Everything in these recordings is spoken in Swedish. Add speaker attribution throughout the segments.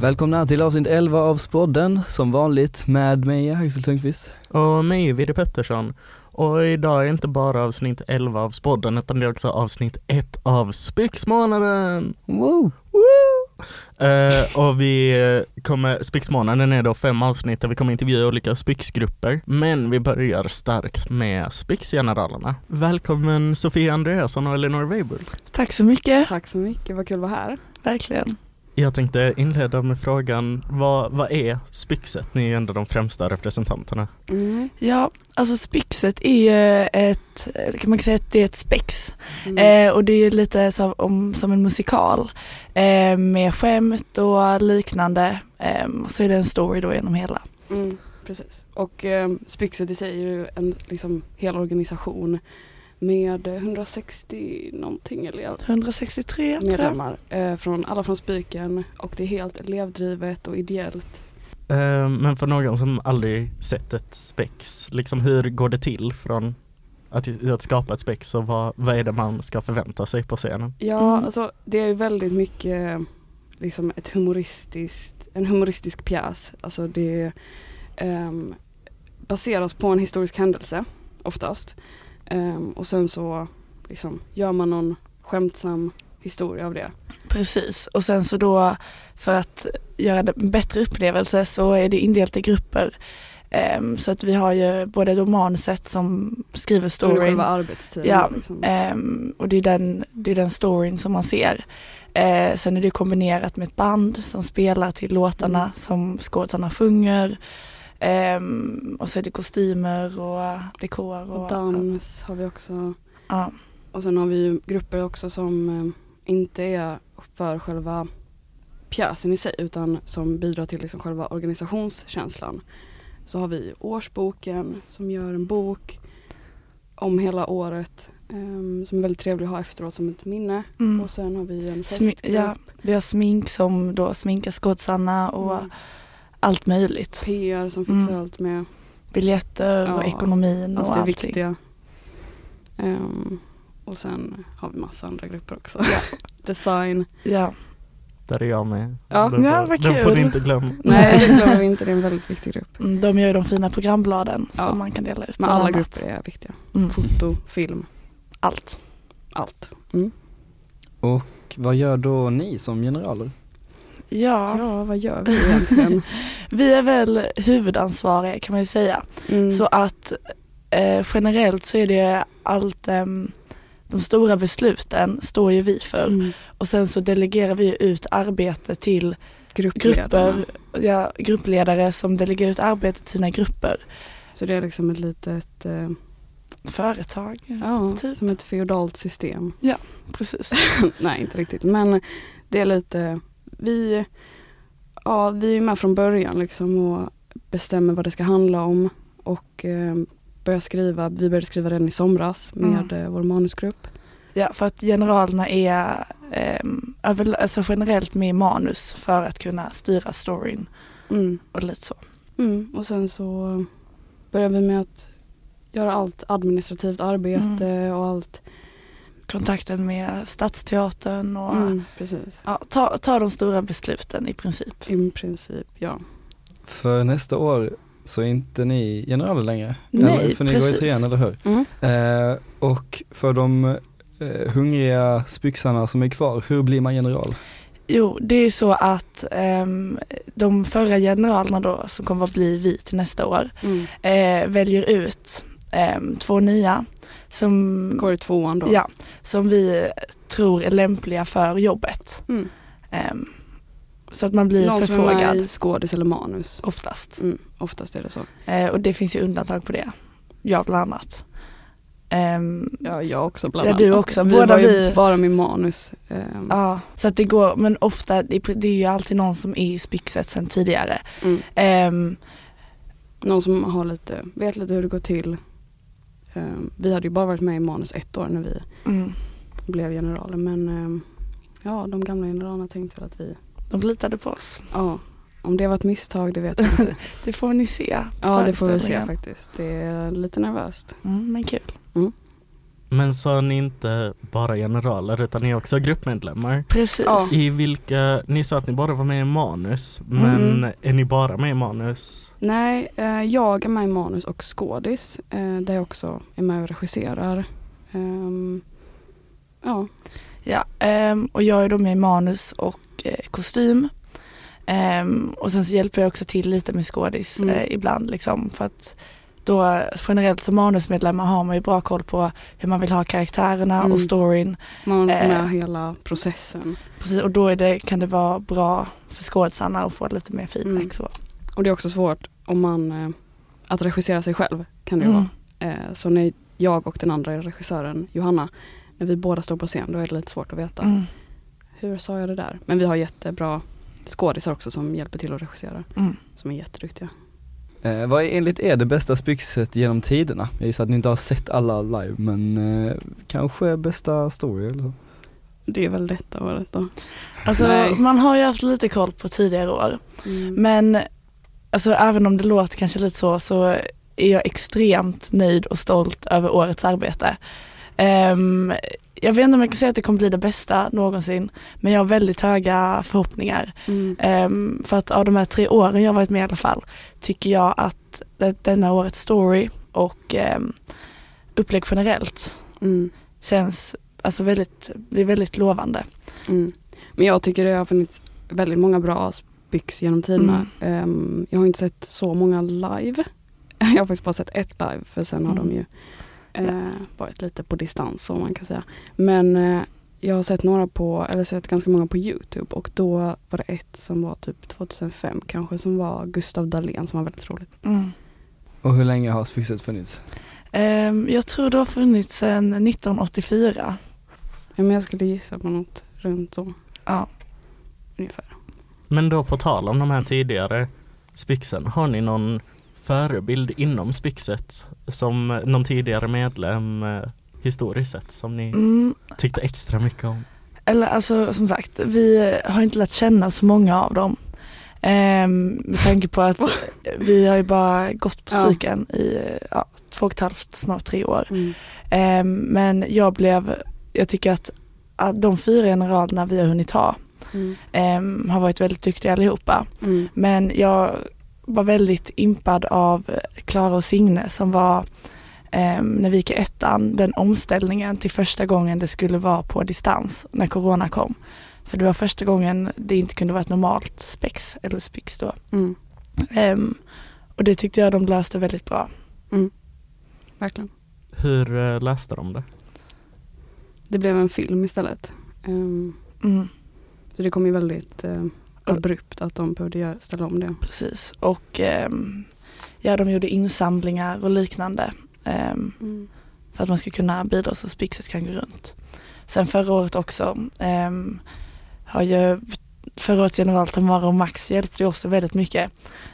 Speaker 1: Välkomna till avsnitt 11 av Spodden, som vanligt med mig Axel Sundqvist.
Speaker 2: Och mig, Vidi Pettersson. Och idag är inte bara avsnitt 11 av Spodden utan det är också avsnitt 1 av Spyxmånaden!
Speaker 1: Wow.
Speaker 2: Woo! Eh, och vi eh, kommer, Spyxmånaden är då fem avsnitt där vi kommer intervjua olika spyxgrupper. Men vi börjar starkt med Spyxgeneralerna. Välkommen Sofia Andreasson och Elinor Weibull.
Speaker 3: Tack så mycket,
Speaker 4: Tack så mycket, vad kul att vara här.
Speaker 3: verkligen.
Speaker 2: Jag tänkte inleda med frågan, vad, vad är Spyxet? Ni är ju ändå de främsta representanterna.
Speaker 4: Mm.
Speaker 3: Ja, alltså spyxet är ju ett, kan man säga att det är ett spex.
Speaker 4: Mm.
Speaker 3: Eh, och det är ju lite som, om, som en musikal eh, med skämt och liknande. Eh, och så är det en story då genom hela.
Speaker 4: Mm. Precis. Och eh, Spyxet i sig är ju en liksom, hel organisation med eh, 160 någonting eller jag-
Speaker 3: 163 tror jag.
Speaker 4: medlemmar. Eh, från, alla från Spyken och det är helt elevdrivet och ideellt.
Speaker 2: Eh, Men för någon som aldrig sett ett spex, liksom hur går det till från att, att skapa ett spex och vad, vad är det man ska förvänta sig på scenen?
Speaker 4: Ja,
Speaker 3: Mm.
Speaker 4: alltså det är ju väldigt mycket eh, liksom ett humoristiskt, en humoristisk pjäs. Alltså det ehm, baseras på en historisk händelse oftast. Ehm, och sen så liksom gör man någon skämtsam historia av det.
Speaker 3: Precis, och sen så då för att göra det en bättre upplevelse så är det indelat i grupper. Ehm, så att vi har ju både då manuset som skriver
Speaker 4: Under
Speaker 3: storyn
Speaker 4: själva arbetstiden.
Speaker 3: Ja,
Speaker 4: liksom.
Speaker 3: Ehm, och det är, den, det är den storyn som man ser. Eh, sen är det kombinerat med ett band som spelar till låtarna
Speaker 4: Mm.
Speaker 3: som skådisarna sjunger. Ehm, och så är det kostymer och dekor. Och,
Speaker 4: och dans har vi också.
Speaker 3: Ja,
Speaker 4: Och sen har vi ju grupper också som eh, inte är för själva pjäsen i sig utan som bidrar till liksom själva organisationskänslan. Så har vi årsboken som gör en bok om hela året ehm, som är väldigt trevlig att ha efteråt som ett minne.
Speaker 3: mm.
Speaker 4: Och sen har vi
Speaker 3: Smi-
Speaker 4: en festgrupp.
Speaker 3: ja, vi har smink som då sminkar skådisarna och
Speaker 4: Mm.
Speaker 3: allt möjligt.
Speaker 4: PR som fixar
Speaker 3: Mm.
Speaker 4: allt med
Speaker 3: Biljetter och
Speaker 4: Ja,
Speaker 3: ekonomin
Speaker 4: allt
Speaker 3: och
Speaker 4: det
Speaker 3: allting.
Speaker 4: viktiga. Ehm, och sen har vi massa andra grupper också. Design.
Speaker 3: Ja.
Speaker 2: Där är jag med.
Speaker 4: Ja,
Speaker 2: den,
Speaker 3: ja, vad
Speaker 2: den får
Speaker 3: kul.
Speaker 2: ni inte glömma.
Speaker 4: Nej det glömmer vi inte, det är en väldigt viktig grupp.
Speaker 3: Mm, De gör ju de fina programbladen
Speaker 4: Ja.
Speaker 3: som man kan dela ut.
Speaker 4: Men
Speaker 3: bland
Speaker 4: alla
Speaker 3: annat.
Speaker 4: grupper är viktiga.
Speaker 3: Mm.
Speaker 4: Foto, film,
Speaker 3: Allt.
Speaker 4: allt.
Speaker 1: Och Vad gör då ni som generaler?
Speaker 3: Ja.
Speaker 4: Ja, vad gör vi egentligen?
Speaker 3: Vi är väl huvudansvariga kan man ju säga.
Speaker 4: Mm.
Speaker 3: Så att eh, generellt så är det allt ehm, de stora besluten står ju vi för
Speaker 4: Mm.
Speaker 3: och sen så delegerar vi ju ut arbete till
Speaker 4: Gruppledarna.
Speaker 3: grupper, ja, gruppledare som delegerar ut arbete till sina grupper,
Speaker 4: Så det är liksom ett litet, eh,
Speaker 3: företag.
Speaker 4: ja,
Speaker 3: Typ.
Speaker 4: som ett feodalt system.
Speaker 3: Precis.
Speaker 4: Nej, inte riktigt. Men det är lite, vi, ja, vi är med från början liksom och bestämmer vad det ska handla om och eh, börjar skriva, vi började skriva redan i somras med
Speaker 3: Mm.
Speaker 4: eh, vår manusgrupp.
Speaker 3: Ja, för att generalerna är ehm, över, alltså generellt med i manus för att kunna styra storyn
Speaker 4: Mm.
Speaker 3: och lite så.
Speaker 4: Mm, och sen så börjar vi med att göra allt administrativt arbete
Speaker 3: Mm.
Speaker 4: och allt.
Speaker 3: Kontakten med Stadsteatern och
Speaker 4: Mm, precis.
Speaker 3: ja, ta, ta de stora besluten i princip.
Speaker 4: I princip, ja.
Speaker 1: För nästa år så är inte ni generaler längre.
Speaker 3: Nej,
Speaker 1: eller, för ni går i
Speaker 3: precis.
Speaker 1: trean, eller hur?
Speaker 4: Mm.
Speaker 1: Eh, och för de eh, hungriga spyxarna som är kvar, hur blir man general?
Speaker 3: Jo, det är så att ehm, de förra generalerna då som kommer att bli vi till nästa år
Speaker 4: Mm.
Speaker 3: eh, väljer ut ehm, två nya som,
Speaker 4: Går i tvåan då.
Speaker 3: ja, som vi tror är lämpliga för jobbet.
Speaker 4: Mm.
Speaker 3: Ehm, så att man blir
Speaker 4: Någon som är
Speaker 3: förfrågad
Speaker 4: med i skådis eller manus.
Speaker 3: oftast.
Speaker 4: Mm, oftast är det så.
Speaker 3: Eh, och det finns ju undantag på det. Jag bland annat. Ehm,
Speaker 4: Ja, jag också bland
Speaker 3: Ja,
Speaker 4: annat.
Speaker 3: du också.
Speaker 4: Vi
Speaker 3: Båda
Speaker 4: var ju
Speaker 3: vi-
Speaker 4: bara med manus. ehm,
Speaker 3: Ja, så att det går, men ofta, det är det är ju alltid någon som är i spyxet sedan tidigare.
Speaker 4: Mm.
Speaker 3: Ehm,
Speaker 4: Någon som har lite, vet lite hur det går till. Ehm, vi hade ju bara varit med i manus ett år när vi
Speaker 3: mm.
Speaker 4: blev generaler men ehm, ja, de gamla generalerna tänkte väl att vi,
Speaker 3: De litade på oss.
Speaker 4: ja, om det var ett misstag det vet jag inte.
Speaker 3: Det får ni se.
Speaker 4: Ja det får vi se
Speaker 3: föreställningen.
Speaker 4: faktiskt. Det är lite nervöst.
Speaker 3: Mm, men kul.
Speaker 4: Mm.
Speaker 2: Men så ni inte bara generaler utan ni är också gruppmedlemmar?
Speaker 3: Precis.
Speaker 4: Ja.
Speaker 2: I vilka, ni sa att ni bara var med i manus, men
Speaker 4: Mm.
Speaker 2: är ni bara med i manus?
Speaker 4: Nej, eh, jag är med i manus och skådis eh, där jag också är med och regisserar. Ehm, ja,
Speaker 3: Ja, ehm, och jag är då med i manus och eh, kostym. Ehm, och sen så hjälper jag också till lite med skådis
Speaker 4: Mm.
Speaker 3: eh, ibland liksom för att då eh, generellt som manusmedlemmar har man ju bra koll på hur man vill ha karaktärerna
Speaker 4: Mm.
Speaker 3: och storyn.
Speaker 4: man får
Speaker 3: Eh.
Speaker 4: med hela processen.
Speaker 3: Precis, och då är det, kan det vara bra för skådisarna att få lite mer feedback.
Speaker 4: Mm.
Speaker 3: Så.
Speaker 4: Och det är också svårt om man, eh, att regissera sig själv kan det ju
Speaker 3: Mm.
Speaker 4: vara. Eh, så när jag och den andra regissören Johanna, när vi båda står på scen då är det lite svårt att veta.
Speaker 3: Mm.
Speaker 4: Hur sa jag det där? Men vi har jättebra skådisar också som hjälper till att regissera,
Speaker 3: Mm.
Speaker 4: som är jätteduktiga.
Speaker 1: Eh, vad är enligt er det bästa spyxet genom tiderna? Jag gissar att ni inte har sett alla live men eh, kanske bästa story eller så?
Speaker 4: Det är väl detta året då.
Speaker 3: Alltså,
Speaker 4: Nej.
Speaker 3: man har ju haft lite koll på tidigare år.
Speaker 4: Mm.
Speaker 3: Men alltså, även om det låter kanske lite så så är jag extremt nöjd och stolt över årets arbete. Ehm, jag vet inte om jag kan säga att det kommer bli det bästa någonsin men jag har väldigt höga förhoppningar.
Speaker 4: Mm.
Speaker 3: Ehm, för att av de här tre åren jag har varit med i alla fall tycker jag att det, denna årets story och um, upplägg generellt
Speaker 4: Mm.
Speaker 3: känns alltså, väldigt, det är väldigt lovande.
Speaker 4: Mm. Men jag tycker det har funnits väldigt många bra byx genom tiderna. Ehm, jag har inte sett så många live. Jag har faktiskt bara sett ett live för sen har
Speaker 3: Mm.
Speaker 4: de ju
Speaker 3: Ja.
Speaker 4: eh, varit lite på distans om man kan säga. Men eh, jag har sett några på, eller sett ganska många på Youtube och då var det ett som var typ 2005 kanske som var Gustav Dahlén som var väldigt roligt.
Speaker 3: Mm.
Speaker 1: Och hur länge har spyxet funnits?
Speaker 3: Ehm, jag tror det har funnits sedan 1984.
Speaker 4: Ja, men jag skulle gissa på något runt så
Speaker 3: Ja.
Speaker 4: ungefär.
Speaker 2: Men då på tal om de här tidigare spixen, har ni någon förebild inom spixet som eh, någon tidigare medlem eh, historiskt sett som ni
Speaker 3: Mm.
Speaker 2: tyckte extra mycket om?
Speaker 3: Eller alltså som sagt, vi har inte lärt känna så många av dem. Ehm, med tanke på att vi har ju bara gått på
Speaker 4: Ja.
Speaker 3: stryken i ja, två och ett halvt, snart tre år.
Speaker 4: Mm.
Speaker 3: Ehm, men jag blev, jag tycker att, att de fyra generalerna vi har hunnit ha
Speaker 4: Mm.
Speaker 3: ehm, har varit väldigt duktiga allihopa.
Speaker 4: Mm.
Speaker 3: Men jag var väldigt impad av Klara och Signe som var ehm, när vi gick i ettan, den omställningen till första gången det skulle vara på distans när corona kom. För det var första gången det inte kunde vara ett normalt spex eller spix då.
Speaker 4: Mm.
Speaker 3: Ehm, och det tyckte jag de löste väldigt bra.
Speaker 4: Verkligen.
Speaker 2: Hur eh, läste de det?
Speaker 4: Det blev en film istället. Ehm,
Speaker 3: Mm,
Speaker 4: Så det kom ju väldigt eh,
Speaker 3: Och-
Speaker 4: abrupt att de behövde göra, ställa om det.
Speaker 3: precis. Och ehm, ja, de gjorde insamlingar och liknande. Ehm,
Speaker 4: Mm.
Speaker 3: för att man ska kunna bidra så spixet kan gå runt. Sen förra året också ehm, har ju förra årets general Tamara och Max hjälpte ju också väldigt mycket.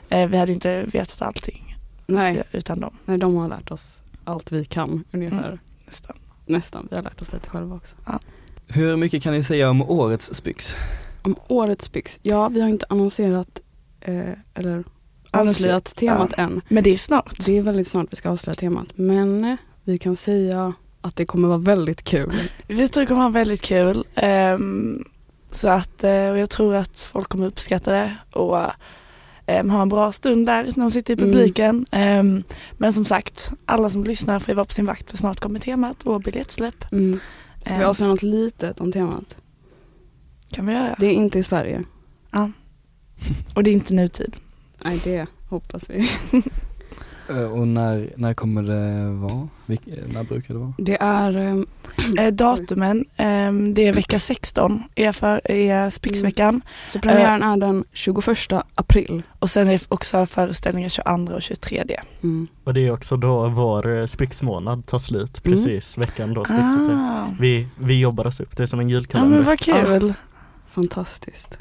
Speaker 3: Eh, vi hade ju inte vetat allting
Speaker 4: Nej,
Speaker 3: utan dem
Speaker 4: nej, de har lärt oss allt vi kan ungefär.
Speaker 3: nästan.
Speaker 4: Nästan, vi har lärt oss lite själva också.
Speaker 1: Hur mycket kan ni säga om årets spyx?
Speaker 4: Om årets byx, ja vi har inte annonserat eh, eller
Speaker 3: Annonser-
Speaker 4: avslöjat temat än.
Speaker 3: Men det är snart.
Speaker 4: Det är väldigt snart vi ska avslöja temat men eh, vi kan säga att det kommer vara väldigt kul.
Speaker 3: Vi tror det kommer vara väldigt kul. ehm, så att, eh, och jag tror att folk kommer uppskatta det och ehm, ha en bra stund där när de sitter i
Speaker 4: Mm.
Speaker 3: publiken. Ehm, men som sagt, alla som lyssnar får ju vara på sin vakt för snart kommer temat och biljettsläpp
Speaker 4: Mm. Ska vi
Speaker 3: Ehm.
Speaker 4: avslöja något litet om temat?
Speaker 3: kan vi göra.
Speaker 4: Det är inte i Sverige.
Speaker 3: Och det är inte nutid.
Speaker 4: Nej det hoppas vi.
Speaker 1: Eh, och när, när kommer det vara? Vilk, eh, när brukar det vara?
Speaker 4: Det är eh,
Speaker 3: Eh, datumen, ehm, det är vecka 16 är, för, är Spixveckan
Speaker 4: Så premiären
Speaker 3: Eh.
Speaker 4: är den 21 april.
Speaker 3: och sen är det också föreställningar 22 och 23.
Speaker 4: Mm.
Speaker 2: Och det är också då vår eh, spixmånad tar slut,
Speaker 4: Mm.
Speaker 2: precis veckan då spixet är.
Speaker 3: Ah.
Speaker 2: Vi, vi jobbar oss upp, det är som en
Speaker 3: Ja men
Speaker 2: julkalender.
Speaker 3: vad kul.
Speaker 4: Fantastiskt.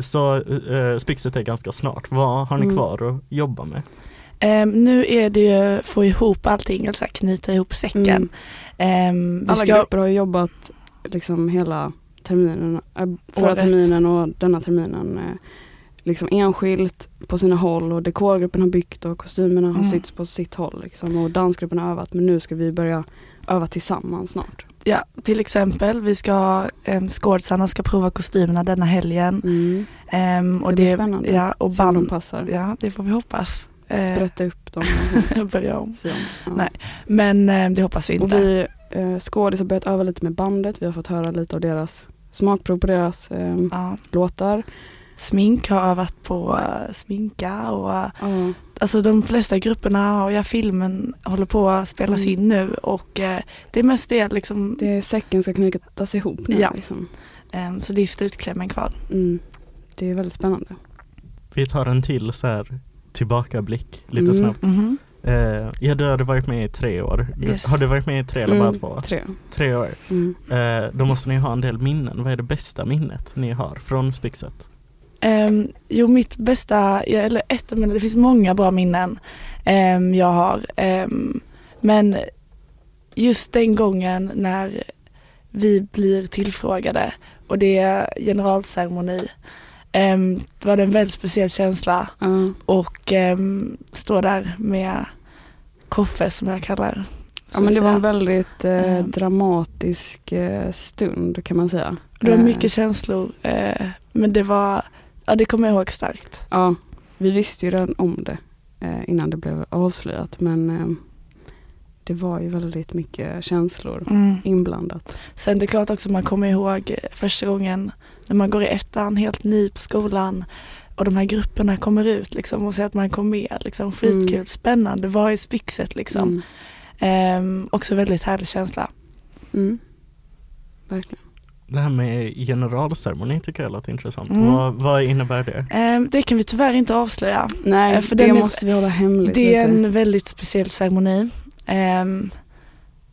Speaker 2: Så eh, spixet är ganska snart. Vad har ni
Speaker 4: Mm.
Speaker 2: kvar att jobba med?
Speaker 3: Ehm, nu är det ju få ihop allting, alltså knyta ihop säcken.
Speaker 4: Mm.
Speaker 3: Ehm, vi
Speaker 4: Alla
Speaker 3: ska,
Speaker 4: grupper har ju jobbat liksom hela terminen, äh, förra
Speaker 3: Året.
Speaker 4: terminen och denna terminen eh, liksom enskilt på sina håll och dekorgruppen har byggt och kostymerna har
Speaker 3: Mm.
Speaker 4: sytts på sitt håll liksom, och dansgruppen har övat men nu ska vi börja öva tillsammans snart.
Speaker 3: Ja, till exempel, vi ska, eh, skådisarna ska prova kostymerna denna helgen.
Speaker 4: Mm.
Speaker 3: Ehm, och
Speaker 4: Det blir spännande.
Speaker 3: Ja, och
Speaker 4: Se om de
Speaker 3: band,
Speaker 4: passar.
Speaker 3: ja, det får vi hoppas. Eh,
Speaker 4: Sprätta upp dem.
Speaker 3: börja om.
Speaker 4: Och se om. Ja.
Speaker 3: Nej, Men eh, det hoppas vi
Speaker 4: Och
Speaker 3: inte.
Speaker 4: vi eh, skådis har börjat öva lite med bandet. Vi har fått höra lite av deras smakprov på deras eh,
Speaker 3: ja.
Speaker 4: låtar.
Speaker 3: Smink har övat på eh, sminka och eh,
Speaker 4: Ja.
Speaker 3: alltså de flesta grupperna och ja, filmen håller på att spelas
Speaker 4: Mm.
Speaker 3: in nu och eh, det är mest det liksom,
Speaker 4: Det är säcken ska knytas ihop nu.
Speaker 3: Ja.
Speaker 4: Liksom.
Speaker 3: ehm, så det är slutklämmen kvar.
Speaker 4: Mm. Det är väldigt spännande.
Speaker 2: Vi tar en till så här tillbakablick lite
Speaker 4: Mm.
Speaker 2: snabbt.
Speaker 3: Mhm.
Speaker 2: Eh, ja, du hade varit med i tre år. Du-
Speaker 3: Yes.
Speaker 2: Har du varit med i tre eller bara
Speaker 4: Mm,
Speaker 2: två?
Speaker 4: Tre.
Speaker 2: Tre år.
Speaker 4: Mm.
Speaker 2: Eh, då måste ni ha en del minnen. Vad är det bästa minnet ni har från Spixet?
Speaker 3: Ehm, jo, mitt bästa, ja, eller ett av mina, det finns många bra minnen ehm, jag har. Ehm, men just den gången när vi blir tillfrågade och det är generalceremoni ehm, var det en väldigt speciell känsla
Speaker 4: Ja.
Speaker 3: och ehm, stå där med Koffe som jag kallar
Speaker 4: Ja, men det var en
Speaker 3: Sofia.
Speaker 4: väldigt eh,
Speaker 3: Mm.
Speaker 4: dramatisk eh, stund kan man säga.
Speaker 3: Det var
Speaker 4: Eh,
Speaker 3: mycket känslor eh, men det var, ja det kommer jag ihåg starkt.
Speaker 4: Ja, vi visste ju redan om det eh, innan det blev avslöjat men eh, det var ju väldigt mycket känslor inblandat.
Speaker 3: Sen det är klart också man kommer ihåg första gången när man går i ettan helt ny på skolan och de här grupperna kommer ut liksom och ser att man kom med. Liksom, skitkul,
Speaker 4: Mm.
Speaker 3: spännande, vad är spyxet liksom?
Speaker 4: Mm.
Speaker 3: Ehm, också väldigt härlig känsla.
Speaker 4: Mm. Verkligen.
Speaker 2: Det här med generalceremoni tycker jag låter intressant.
Speaker 3: Mm.
Speaker 2: Vad, vad innebär det?
Speaker 3: Ehm, det kan vi tyvärr inte avslöja. Eh,
Speaker 4: Nej,
Speaker 3: för
Speaker 4: det
Speaker 3: den är-
Speaker 4: måste vi hålla hemligt
Speaker 3: Det är
Speaker 4: lite.
Speaker 3: en väldigt speciell ceremoni ehm,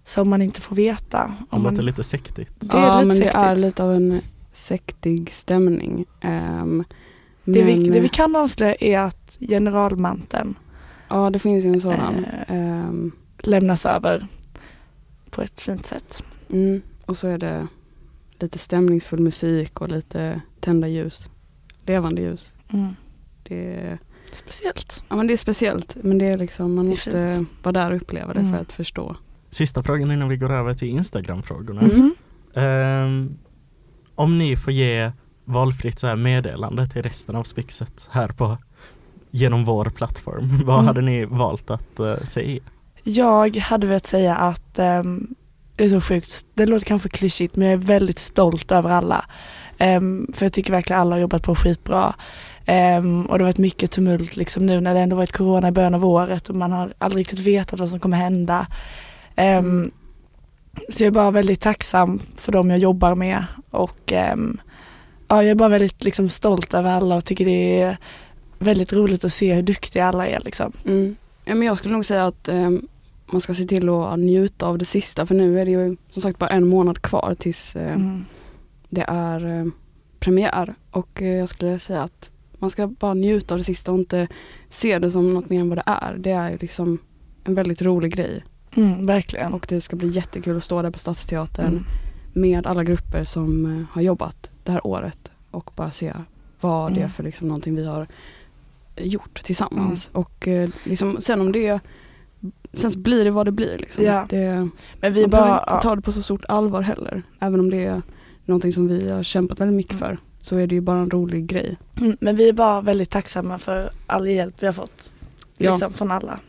Speaker 3: som man inte får veta.
Speaker 2: Det
Speaker 3: Om man,
Speaker 2: låter lite sektigt.
Speaker 3: det är
Speaker 4: Ja,
Speaker 3: lite
Speaker 4: men det är
Speaker 3: sektigt.
Speaker 4: lite av en sektig stämning. ehm,
Speaker 3: Det
Speaker 4: men,
Speaker 3: vi, det vi kan avslöja är att generalmanteln
Speaker 4: eh, Ja, det finns ju en sådan.
Speaker 3: Eh.
Speaker 4: Ehm,
Speaker 3: lämnas över på ett fint sätt.
Speaker 4: mm. Och så är det lite stämningsfull musik och lite tända ljus. Levande ljus.
Speaker 3: Mm.
Speaker 4: Det är
Speaker 3: Speciellt.
Speaker 4: Ja men det är speciellt men det är liksom man
Speaker 3: Det är
Speaker 4: måste
Speaker 3: fint.
Speaker 4: vara där och uppleva det
Speaker 3: Mm.
Speaker 4: för att förstå.
Speaker 2: Sista frågan innan vi går över till Instagram-frågorna.
Speaker 3: Mhm.
Speaker 2: Ehm, om ni får ge valfritt så här meddelande till resten av Spixet här på genom vår plattform, vad
Speaker 3: Mm.
Speaker 2: hade ni valt att eh, säga?
Speaker 3: Jag hade velat säga att ehm, det är så sjukt, det låter kanske klyschigt men jag är väldigt stolt över alla. Ehm, för jag tycker verkligen alla har jobbat på skitbra. Ehm, och det har varit mycket tumult liksom nu när det ändå varit corona i början av året och man har aldrig riktigt vetat vad som kommer hända. Ehm,
Speaker 4: Mm.
Speaker 3: Så jag är bara väldigt tacksam för dem jag jobbar med och ehm, ja, jag är bara väldigt liksom, stolt över alla och tycker det är väldigt roligt att se hur duktiga alla är. Liksom.
Speaker 4: Mm. Ja, men jag skulle nog säga att ehm, man ska se till att njuta av det sista för nu är det ju som sagt bara en månad kvar tills eh,
Speaker 3: Mm.
Speaker 4: det är eh, premiär och eh, jag skulle säga att man ska bara njuta av det sista och inte se det som något mer än vad det är. Det är ju liksom en väldigt rolig grej
Speaker 3: Mm, verkligen.
Speaker 4: och ehm, det ska bli jättekul att stå där på Stadsteatern
Speaker 3: Mm.
Speaker 4: med alla grupper som eh, har jobbat det här året och bara se vad det är
Speaker 3: Mm.
Speaker 4: för liksom någonting vi har gjort tillsammans.
Speaker 3: Mm.
Speaker 4: Och eh, liksom, sen om det Sen så blir det vad det blir. Liksom.
Speaker 3: Ja.
Speaker 4: Det,
Speaker 3: Men vi
Speaker 4: vi man behöver
Speaker 3: bara,
Speaker 4: inte ta det på så stort allvar heller. Även om det är någonting som vi har kämpat väldigt mycket för så är det ju bara en rolig grej.
Speaker 3: Mm, men vi är bara väldigt tacksamma för all hjälp vi har fått.
Speaker 4: Ja.
Speaker 3: Liksom från alla.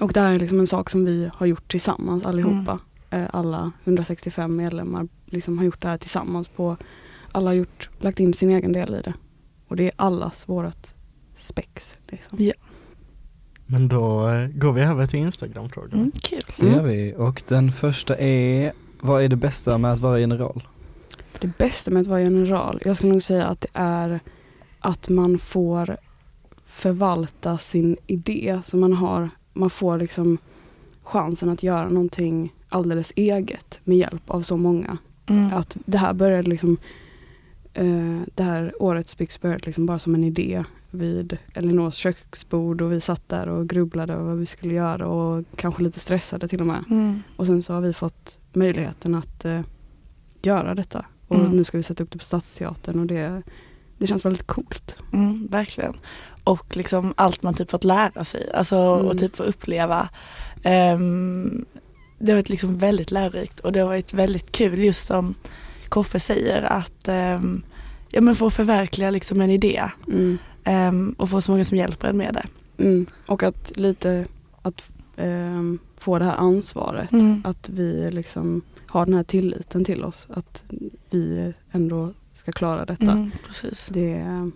Speaker 4: Och det här är liksom en sak som vi har gjort tillsammans allihopa.
Speaker 3: Mm.
Speaker 4: Eh, Alla 165 medlemmar liksom har gjort det här tillsammans. På, alla har gjort, lagt in sin egen del i det. Och det är allas vårat spex. Liksom.
Speaker 2: Men då eh, går vi över till Instagram-frågorna.
Speaker 3: Mm, kul.
Speaker 1: Det gör
Speaker 4: Mm.
Speaker 1: vi och den första är, vad är det bästa med att vara general?
Speaker 4: Det bästa med att vara general, jag skulle nog säga att det är att man får förvalta sin idé som man har. Man får liksom chansen att göra någonting alldeles eget med hjälp av så många.
Speaker 3: Mm.
Speaker 4: att det här började liksom eh, det här årets Spix började liksom bara som en idé vid Elinors köksbord och vi satt där och grubblade över vad vi skulle göra och kanske lite stressade till och med.
Speaker 3: Mm.
Speaker 4: Och sen så har vi fått möjligheten att eh, göra detta och
Speaker 3: Mm.
Speaker 4: nu ska vi sätta upp det på Stadsteatern och det, det känns väldigt coolt.
Speaker 3: Mm, verkligen. Och liksom allt man typ fått lära sig alltså,
Speaker 4: Mm.
Speaker 3: och typ få uppleva. Ehm, det har varit liksom väldigt lärorikt och det har varit väldigt kul just som Koffe säger att ehm, ja, men få förverkliga liksom en idé
Speaker 4: Mm.
Speaker 3: ehm, och få så många som hjälper en med det.
Speaker 4: Mm. Och att lite att ehm, få det här ansvaret.
Speaker 3: Mm.
Speaker 4: Att vi liksom har den här tilliten till oss. Att vi ändå ska klara detta.
Speaker 3: Mm, precis.
Speaker 4: Det, är-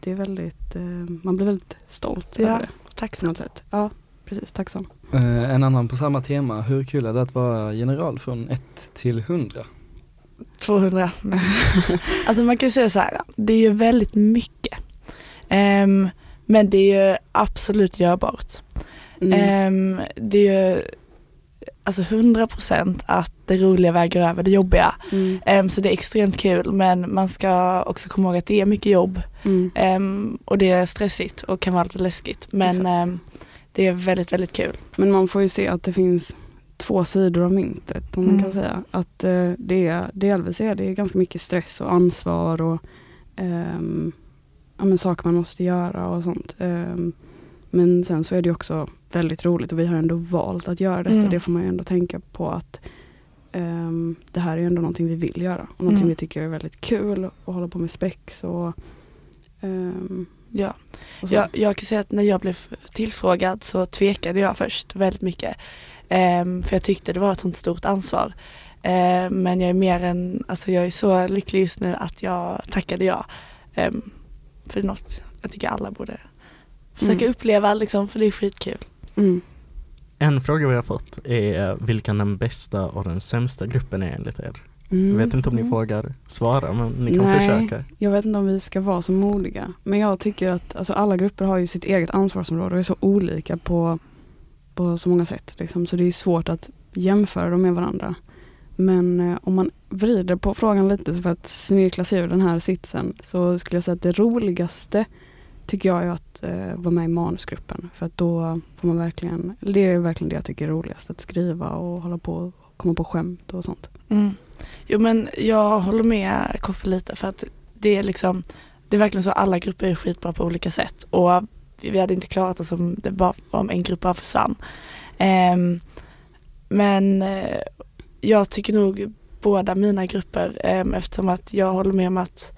Speaker 4: det är väldigt, eh, man blir väldigt stolt
Speaker 3: Ja.
Speaker 4: över det på
Speaker 3: Tacksam.
Speaker 4: något sätt. Ja, precis. Tacksam.
Speaker 1: Eh, en annan på samma tema, hur kul är det att vara general från 1 till 100?
Speaker 3: 200. alltså man kan ju säga så här, det är ju väldigt mycket. Ehm, men det är ju absolut görbart.
Speaker 4: Mm.
Speaker 3: Ehm, det är ju alltså 100% att det roliga väger över det jobbiga.
Speaker 4: Mm.
Speaker 3: Ehm, så det är extremt kul men man ska också komma ihåg att det är mycket jobb
Speaker 4: Mm.
Speaker 3: ehm, och det är stressigt och kan vara lite läskigt. Men
Speaker 4: Exakt.
Speaker 3: ehm, det är väldigt, väldigt kul.
Speaker 4: Men man får ju se att det finns två sidor av myntet om man
Speaker 3: Mm.
Speaker 4: kan säga. Att eh, det är, delvis är det ganska mycket stress och ansvar och ehm, ja, men saker man måste göra och sånt. Ehm, men sen så är det ju också väldigt roligt och vi har ändå valt att göra detta.
Speaker 3: Mm.
Speaker 4: Det får man ju ändå tänka på att ehm, det här är ju ändå någonting vi vill göra och någonting
Speaker 3: Mm.
Speaker 4: vi tycker är väldigt kul och hålla på med spex och, ehm,
Speaker 3: Ja.
Speaker 4: och så.
Speaker 3: Jag, jag kan säga att när jag blev tillfrågad så tvekade jag först väldigt mycket. Ehm, för jag tyckte det var ett sånt stort ansvar. Ehm, men jag är mer än, alltså jag är så lycklig just nu att jag tackade ja. Ehm, för det är något jag tycker alla borde försöka
Speaker 4: Mm.
Speaker 3: uppleva liksom, för det är skitkul.
Speaker 4: Mm.
Speaker 2: En fråga vi har fått är vilken den bästa och den sämsta gruppen är enligt er. Jag
Speaker 4: Mm.
Speaker 2: vet inte om ni
Speaker 4: Mm.
Speaker 2: vågar svara men ni kan
Speaker 4: Nej.
Speaker 2: försöka.
Speaker 4: Jag vet inte om vi ska vara så modiga. Men jag tycker att alltså, alla grupper har ju sitt eget ansvarsområde och är så olika på, på så många sätt. Liksom. Så det är svårt att jämföra dem med varandra. Men eh, om man vrider på frågan lite så för att snirkla sig ur den här sitsen så skulle jag säga att det roligaste tycker jag är att eh, vara med i manusgruppen. För att då får man verkligen, det är verkligen det jag tycker är roligast. Att skriva och hålla på och komma på skämt och sånt.
Speaker 3: Mm. Jo men jag håller med Koffe lite för att det är liksom det är verkligen så alla grupper är skitbra på olika sätt och vi vi hade inte klarat oss om det bara var om en grupp bara försvann. Ehm, men eh, jag tycker nog båda mina grupper ehm, eftersom att jag håller med om att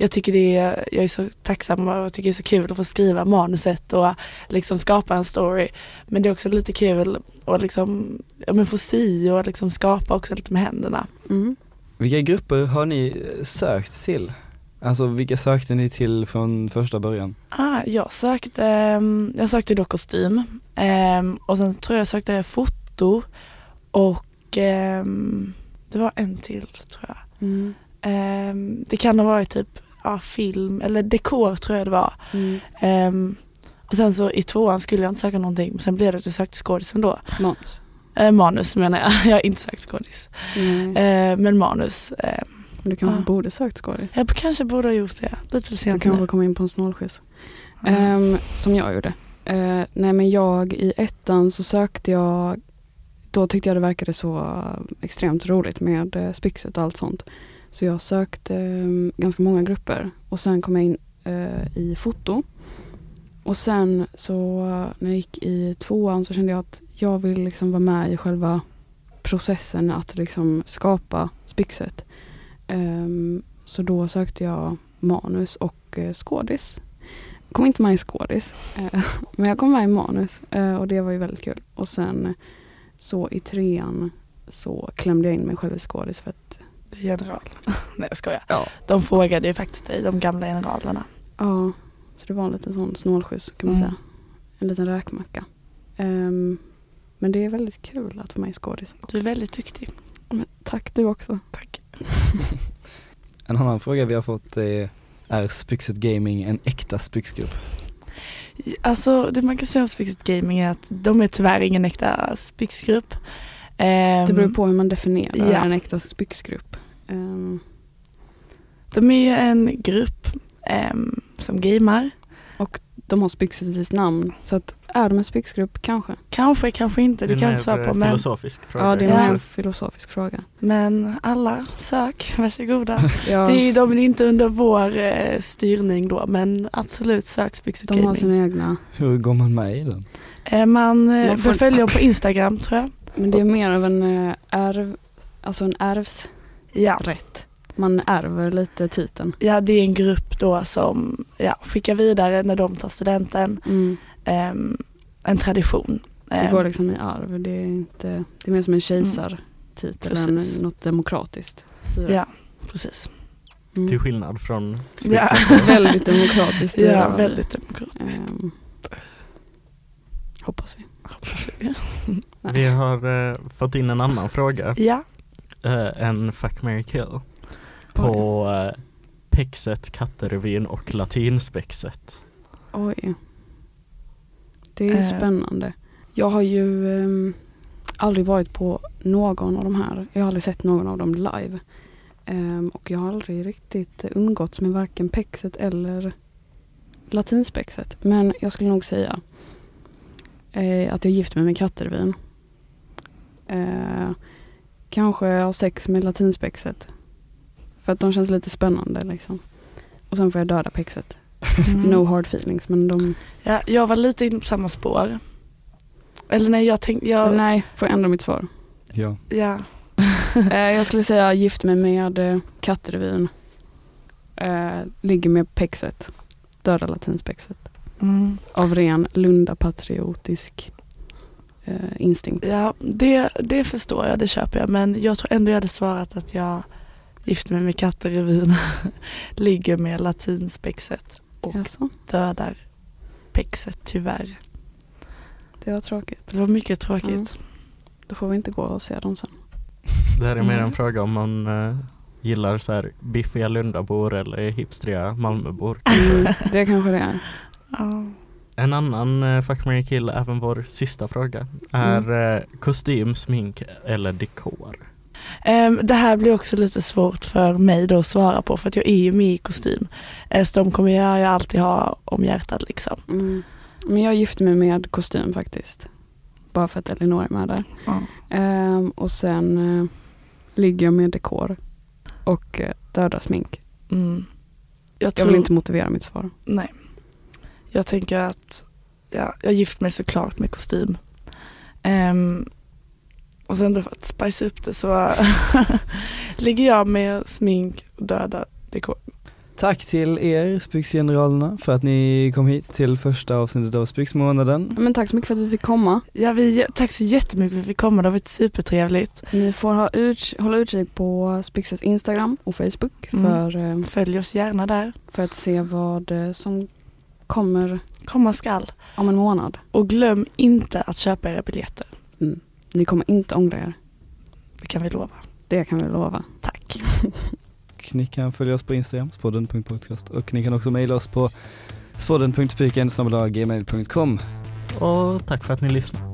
Speaker 3: jag tycker det är, jag är så tacksam och tycker det är så kul att få skriva manuset och liksom skapa en story. Men det är också lite kul att liksom, ja, men få sy och liksom skapa också lite med händerna.
Speaker 4: Mm.
Speaker 1: Vilka grupper har ni eh, sökt till? Alltså vilka sökte ni till från första början?
Speaker 3: Ah, jag sökte, ehm, jag sökte då kostym Ehm, och sen tror jag jag sökte foto och ehm, det var en till tror jag.
Speaker 4: Mm.
Speaker 3: Ehm, det kan ha varit typ ja, film eller dekor tror jag det var.
Speaker 4: Mm.
Speaker 3: Ehm, och sen så i tvåan skulle jag inte söka någonting men sen blev det att jag sökte skådis ändå.
Speaker 4: Manus.
Speaker 3: Eh, manus menar jag, jag har inte sökt skådis.
Speaker 4: Mm.
Speaker 3: Eh, men manus, eh,
Speaker 4: Men du kanske
Speaker 3: Ja.
Speaker 4: borde sökt skådis.
Speaker 3: jag kanske borde ha gjort det lite för
Speaker 4: Du
Speaker 3: sent
Speaker 4: kanske
Speaker 3: nu.
Speaker 4: kom in på en snålskjuts.
Speaker 3: Ja.
Speaker 4: Ehm, som jag gjorde. Eh, nej men jag i ettan så sökte jag, då tyckte jag det verkade så extremt roligt med eh, spyxet och allt sånt. Så jag sökte eh, ganska många grupper och sen kom jag in eh, i foto. Och sen så eh, när jag gick i tvåan så kände jag att jag vill liksom vara med i själva processen att liksom skapa spyxet. Ehm, så då sökte jag manus och eh, skådis. Kom inte med i skådis, eh, men jag kom med i manus eh, och det var ju väldigt kul. Och sen eh, så i trean så klämde jag in mig själv i skådis för att
Speaker 3: Det är General. Nej jag skojar.
Speaker 4: ja,
Speaker 3: De frågade ju faktiskt dig, de gamla generalerna.
Speaker 4: Ja, så det var en liten sån snålskjuts kan man
Speaker 3: Mm.
Speaker 4: säga. En liten räkmacka. Ehm, men det är väldigt kul att vara med i skådis.
Speaker 3: Du är väldigt duktig.
Speaker 4: Men tack du också.
Speaker 3: Tack.
Speaker 1: En annan fråga vi har fått är, är Spyxet Gaming en äkta spyxgrupp?
Speaker 3: Alltså det man kan säga om Spixit Gaming är att de är tyvärr ingen äkta spyxgrupp. Ehm,
Speaker 4: Det beror på hur man definierar
Speaker 3: ja.
Speaker 4: en äkta spyxgrupp. Ehm,
Speaker 3: De är ju en grupp ehm, som gamar.
Speaker 4: de har spyxet i sitt namn så att är de en spyxgrupp kanske?
Speaker 3: Kanske, kanske inte. Det
Speaker 2: en
Speaker 3: kan jag
Speaker 2: mer,
Speaker 3: inte svara på.
Speaker 2: eh,
Speaker 3: Men,
Speaker 2: filosofisk fråga.
Speaker 4: Ja det är
Speaker 3: Ja.
Speaker 4: en
Speaker 2: kanske.
Speaker 4: mer filosofisk fråga.
Speaker 3: men alla sök, varsågoda.
Speaker 4: Ja,
Speaker 3: Det är, de är inte under vår eh, styrning då men absolut sök Spixit
Speaker 4: de har
Speaker 3: Gaming.
Speaker 4: sina egna.
Speaker 1: Hur går man med i den?
Speaker 3: Eh, man eh,
Speaker 4: Man får-
Speaker 3: bör följa dem på Instagram tror jag.
Speaker 4: Men det är mer av en eh, ärv, alltså en ärvsrätt.
Speaker 3: Ja.
Speaker 4: Man ärver lite titeln.
Speaker 3: ja, det är en grupp då som ja, skickar vidare när de tar studenten ehm, en tradition.
Speaker 4: Det
Speaker 3: Ehm,
Speaker 4: går liksom i arv. Det är, inte, det är mer som en kejsartitel
Speaker 3: Precis.
Speaker 4: än något demokratiskt styre.
Speaker 3: Ja,
Speaker 4: liksom-
Speaker 3: precis.
Speaker 4: Mm.
Speaker 2: Till skillnad från
Speaker 3: Ja,
Speaker 2: spiksen.
Speaker 4: Väldigt demokratiskt styre.
Speaker 3: ja
Speaker 4: var vi.
Speaker 3: väldigt demokratiskt.
Speaker 4: Ehm, hoppas vi.
Speaker 3: hoppas vi.
Speaker 2: Vi har eh, fått in en annan fråga.
Speaker 3: Ja,
Speaker 2: Eh, en fuck, marry, kill. På eh, Pexet, Katterevyn och Latinspexet.
Speaker 4: Oj. Oj. Det är ju
Speaker 3: Eh.
Speaker 4: spännande. Jag har ju ehm, aldrig varit på någon av de här. Jag har aldrig sett någon av dem live. Ehm, och jag har aldrig riktigt umgåtts med varken pexet eller latinspexet. Men jag skulle nog säga eh, att jag gift mig med Kattervin. Eh, kanske har sex med latinspexet. För att de känns lite spännande liksom. Och sen får jag döda pexet.
Speaker 3: Mm.
Speaker 4: No hard feelings men de...
Speaker 3: ja, jag var lite inne på samma spår. Eller nej, jag tänkte, jag,
Speaker 4: Nej, får jag ändra mitt svar?
Speaker 1: Ja.
Speaker 3: ja,
Speaker 4: eh, jag skulle säga gift mig med eh, Katterevyn. Eh, ligger med pexet. Döda latinspexet.
Speaker 3: mm.
Speaker 4: Av ren lundapatriotisk eh, instinkt.
Speaker 3: ja det, det förstår jag, det köper jag. Men jag tror ändå jag hade svarat att jag gift mig med katterevyn, ligger med latinspexet och
Speaker 4: Jaså,
Speaker 3: dödar pexet tyvärr.
Speaker 4: det var tråkigt.
Speaker 3: Det var mycket tråkigt.
Speaker 4: Mm. Då får vi inte gå och se dem sen.
Speaker 2: Det här är mer
Speaker 3: Mm.
Speaker 2: en fråga om man eh, gillar så här biffiga lundabor eller hipstriga malmöbor.
Speaker 4: Mm, Det kanske det är.
Speaker 3: Ja.
Speaker 2: En annan eh, fuck, marry, kill, även vår sista fråga, är eh, kostym, smink eller dekor.
Speaker 3: Ehm, det här blir också lite svårt för mig då att svara på för att jag är ju med i kostym. Eh, så de kommer jag ju alltid ha om hjärtat liksom.
Speaker 4: Mm. Men jag gifte mig med kostym faktiskt. Bara för att Elinor är med där. Ehm, och sen eh, ligger jag med dekor och eh, döda smink.
Speaker 3: Mm. Jag
Speaker 4: Jag
Speaker 3: tror
Speaker 4: vill inte motivera mitt svar.
Speaker 3: Nej. Jag tänker att ja, jag gift mig såklart med kostym. Ehm, och sen då för att spice upp det så ligger jag med smink och döda dekor.
Speaker 1: Tack till er Spyxgeneralerna för att ni kom hit till första avsnittet av Spyxmånaden.
Speaker 4: Men tack så mycket för att vi fick komma.
Speaker 3: Ja, vi, tack så jättemycket för att vi fick komma, det har varit supertrevligt.
Speaker 4: Ni får ha ut, hålla utkik på Spyxes Instagram och Facebook
Speaker 3: Mm.
Speaker 4: för, eh,
Speaker 3: Följ oss gärna där.
Speaker 4: för att se vad eh, som kommer
Speaker 3: Komma skall.
Speaker 4: om en månad.
Speaker 3: Och glöm inte att köpa era biljetter.
Speaker 4: Ni kommer inte ångra er.
Speaker 3: Det kan vi lova.
Speaker 4: Det kan vi lova.
Speaker 3: Tack.
Speaker 1: Och ni kan följa oss på Instagram, spodden.podcast och ni kan också mejla oss på spodden.spyken.gmail.com
Speaker 2: Och tack för att ni lyssnade.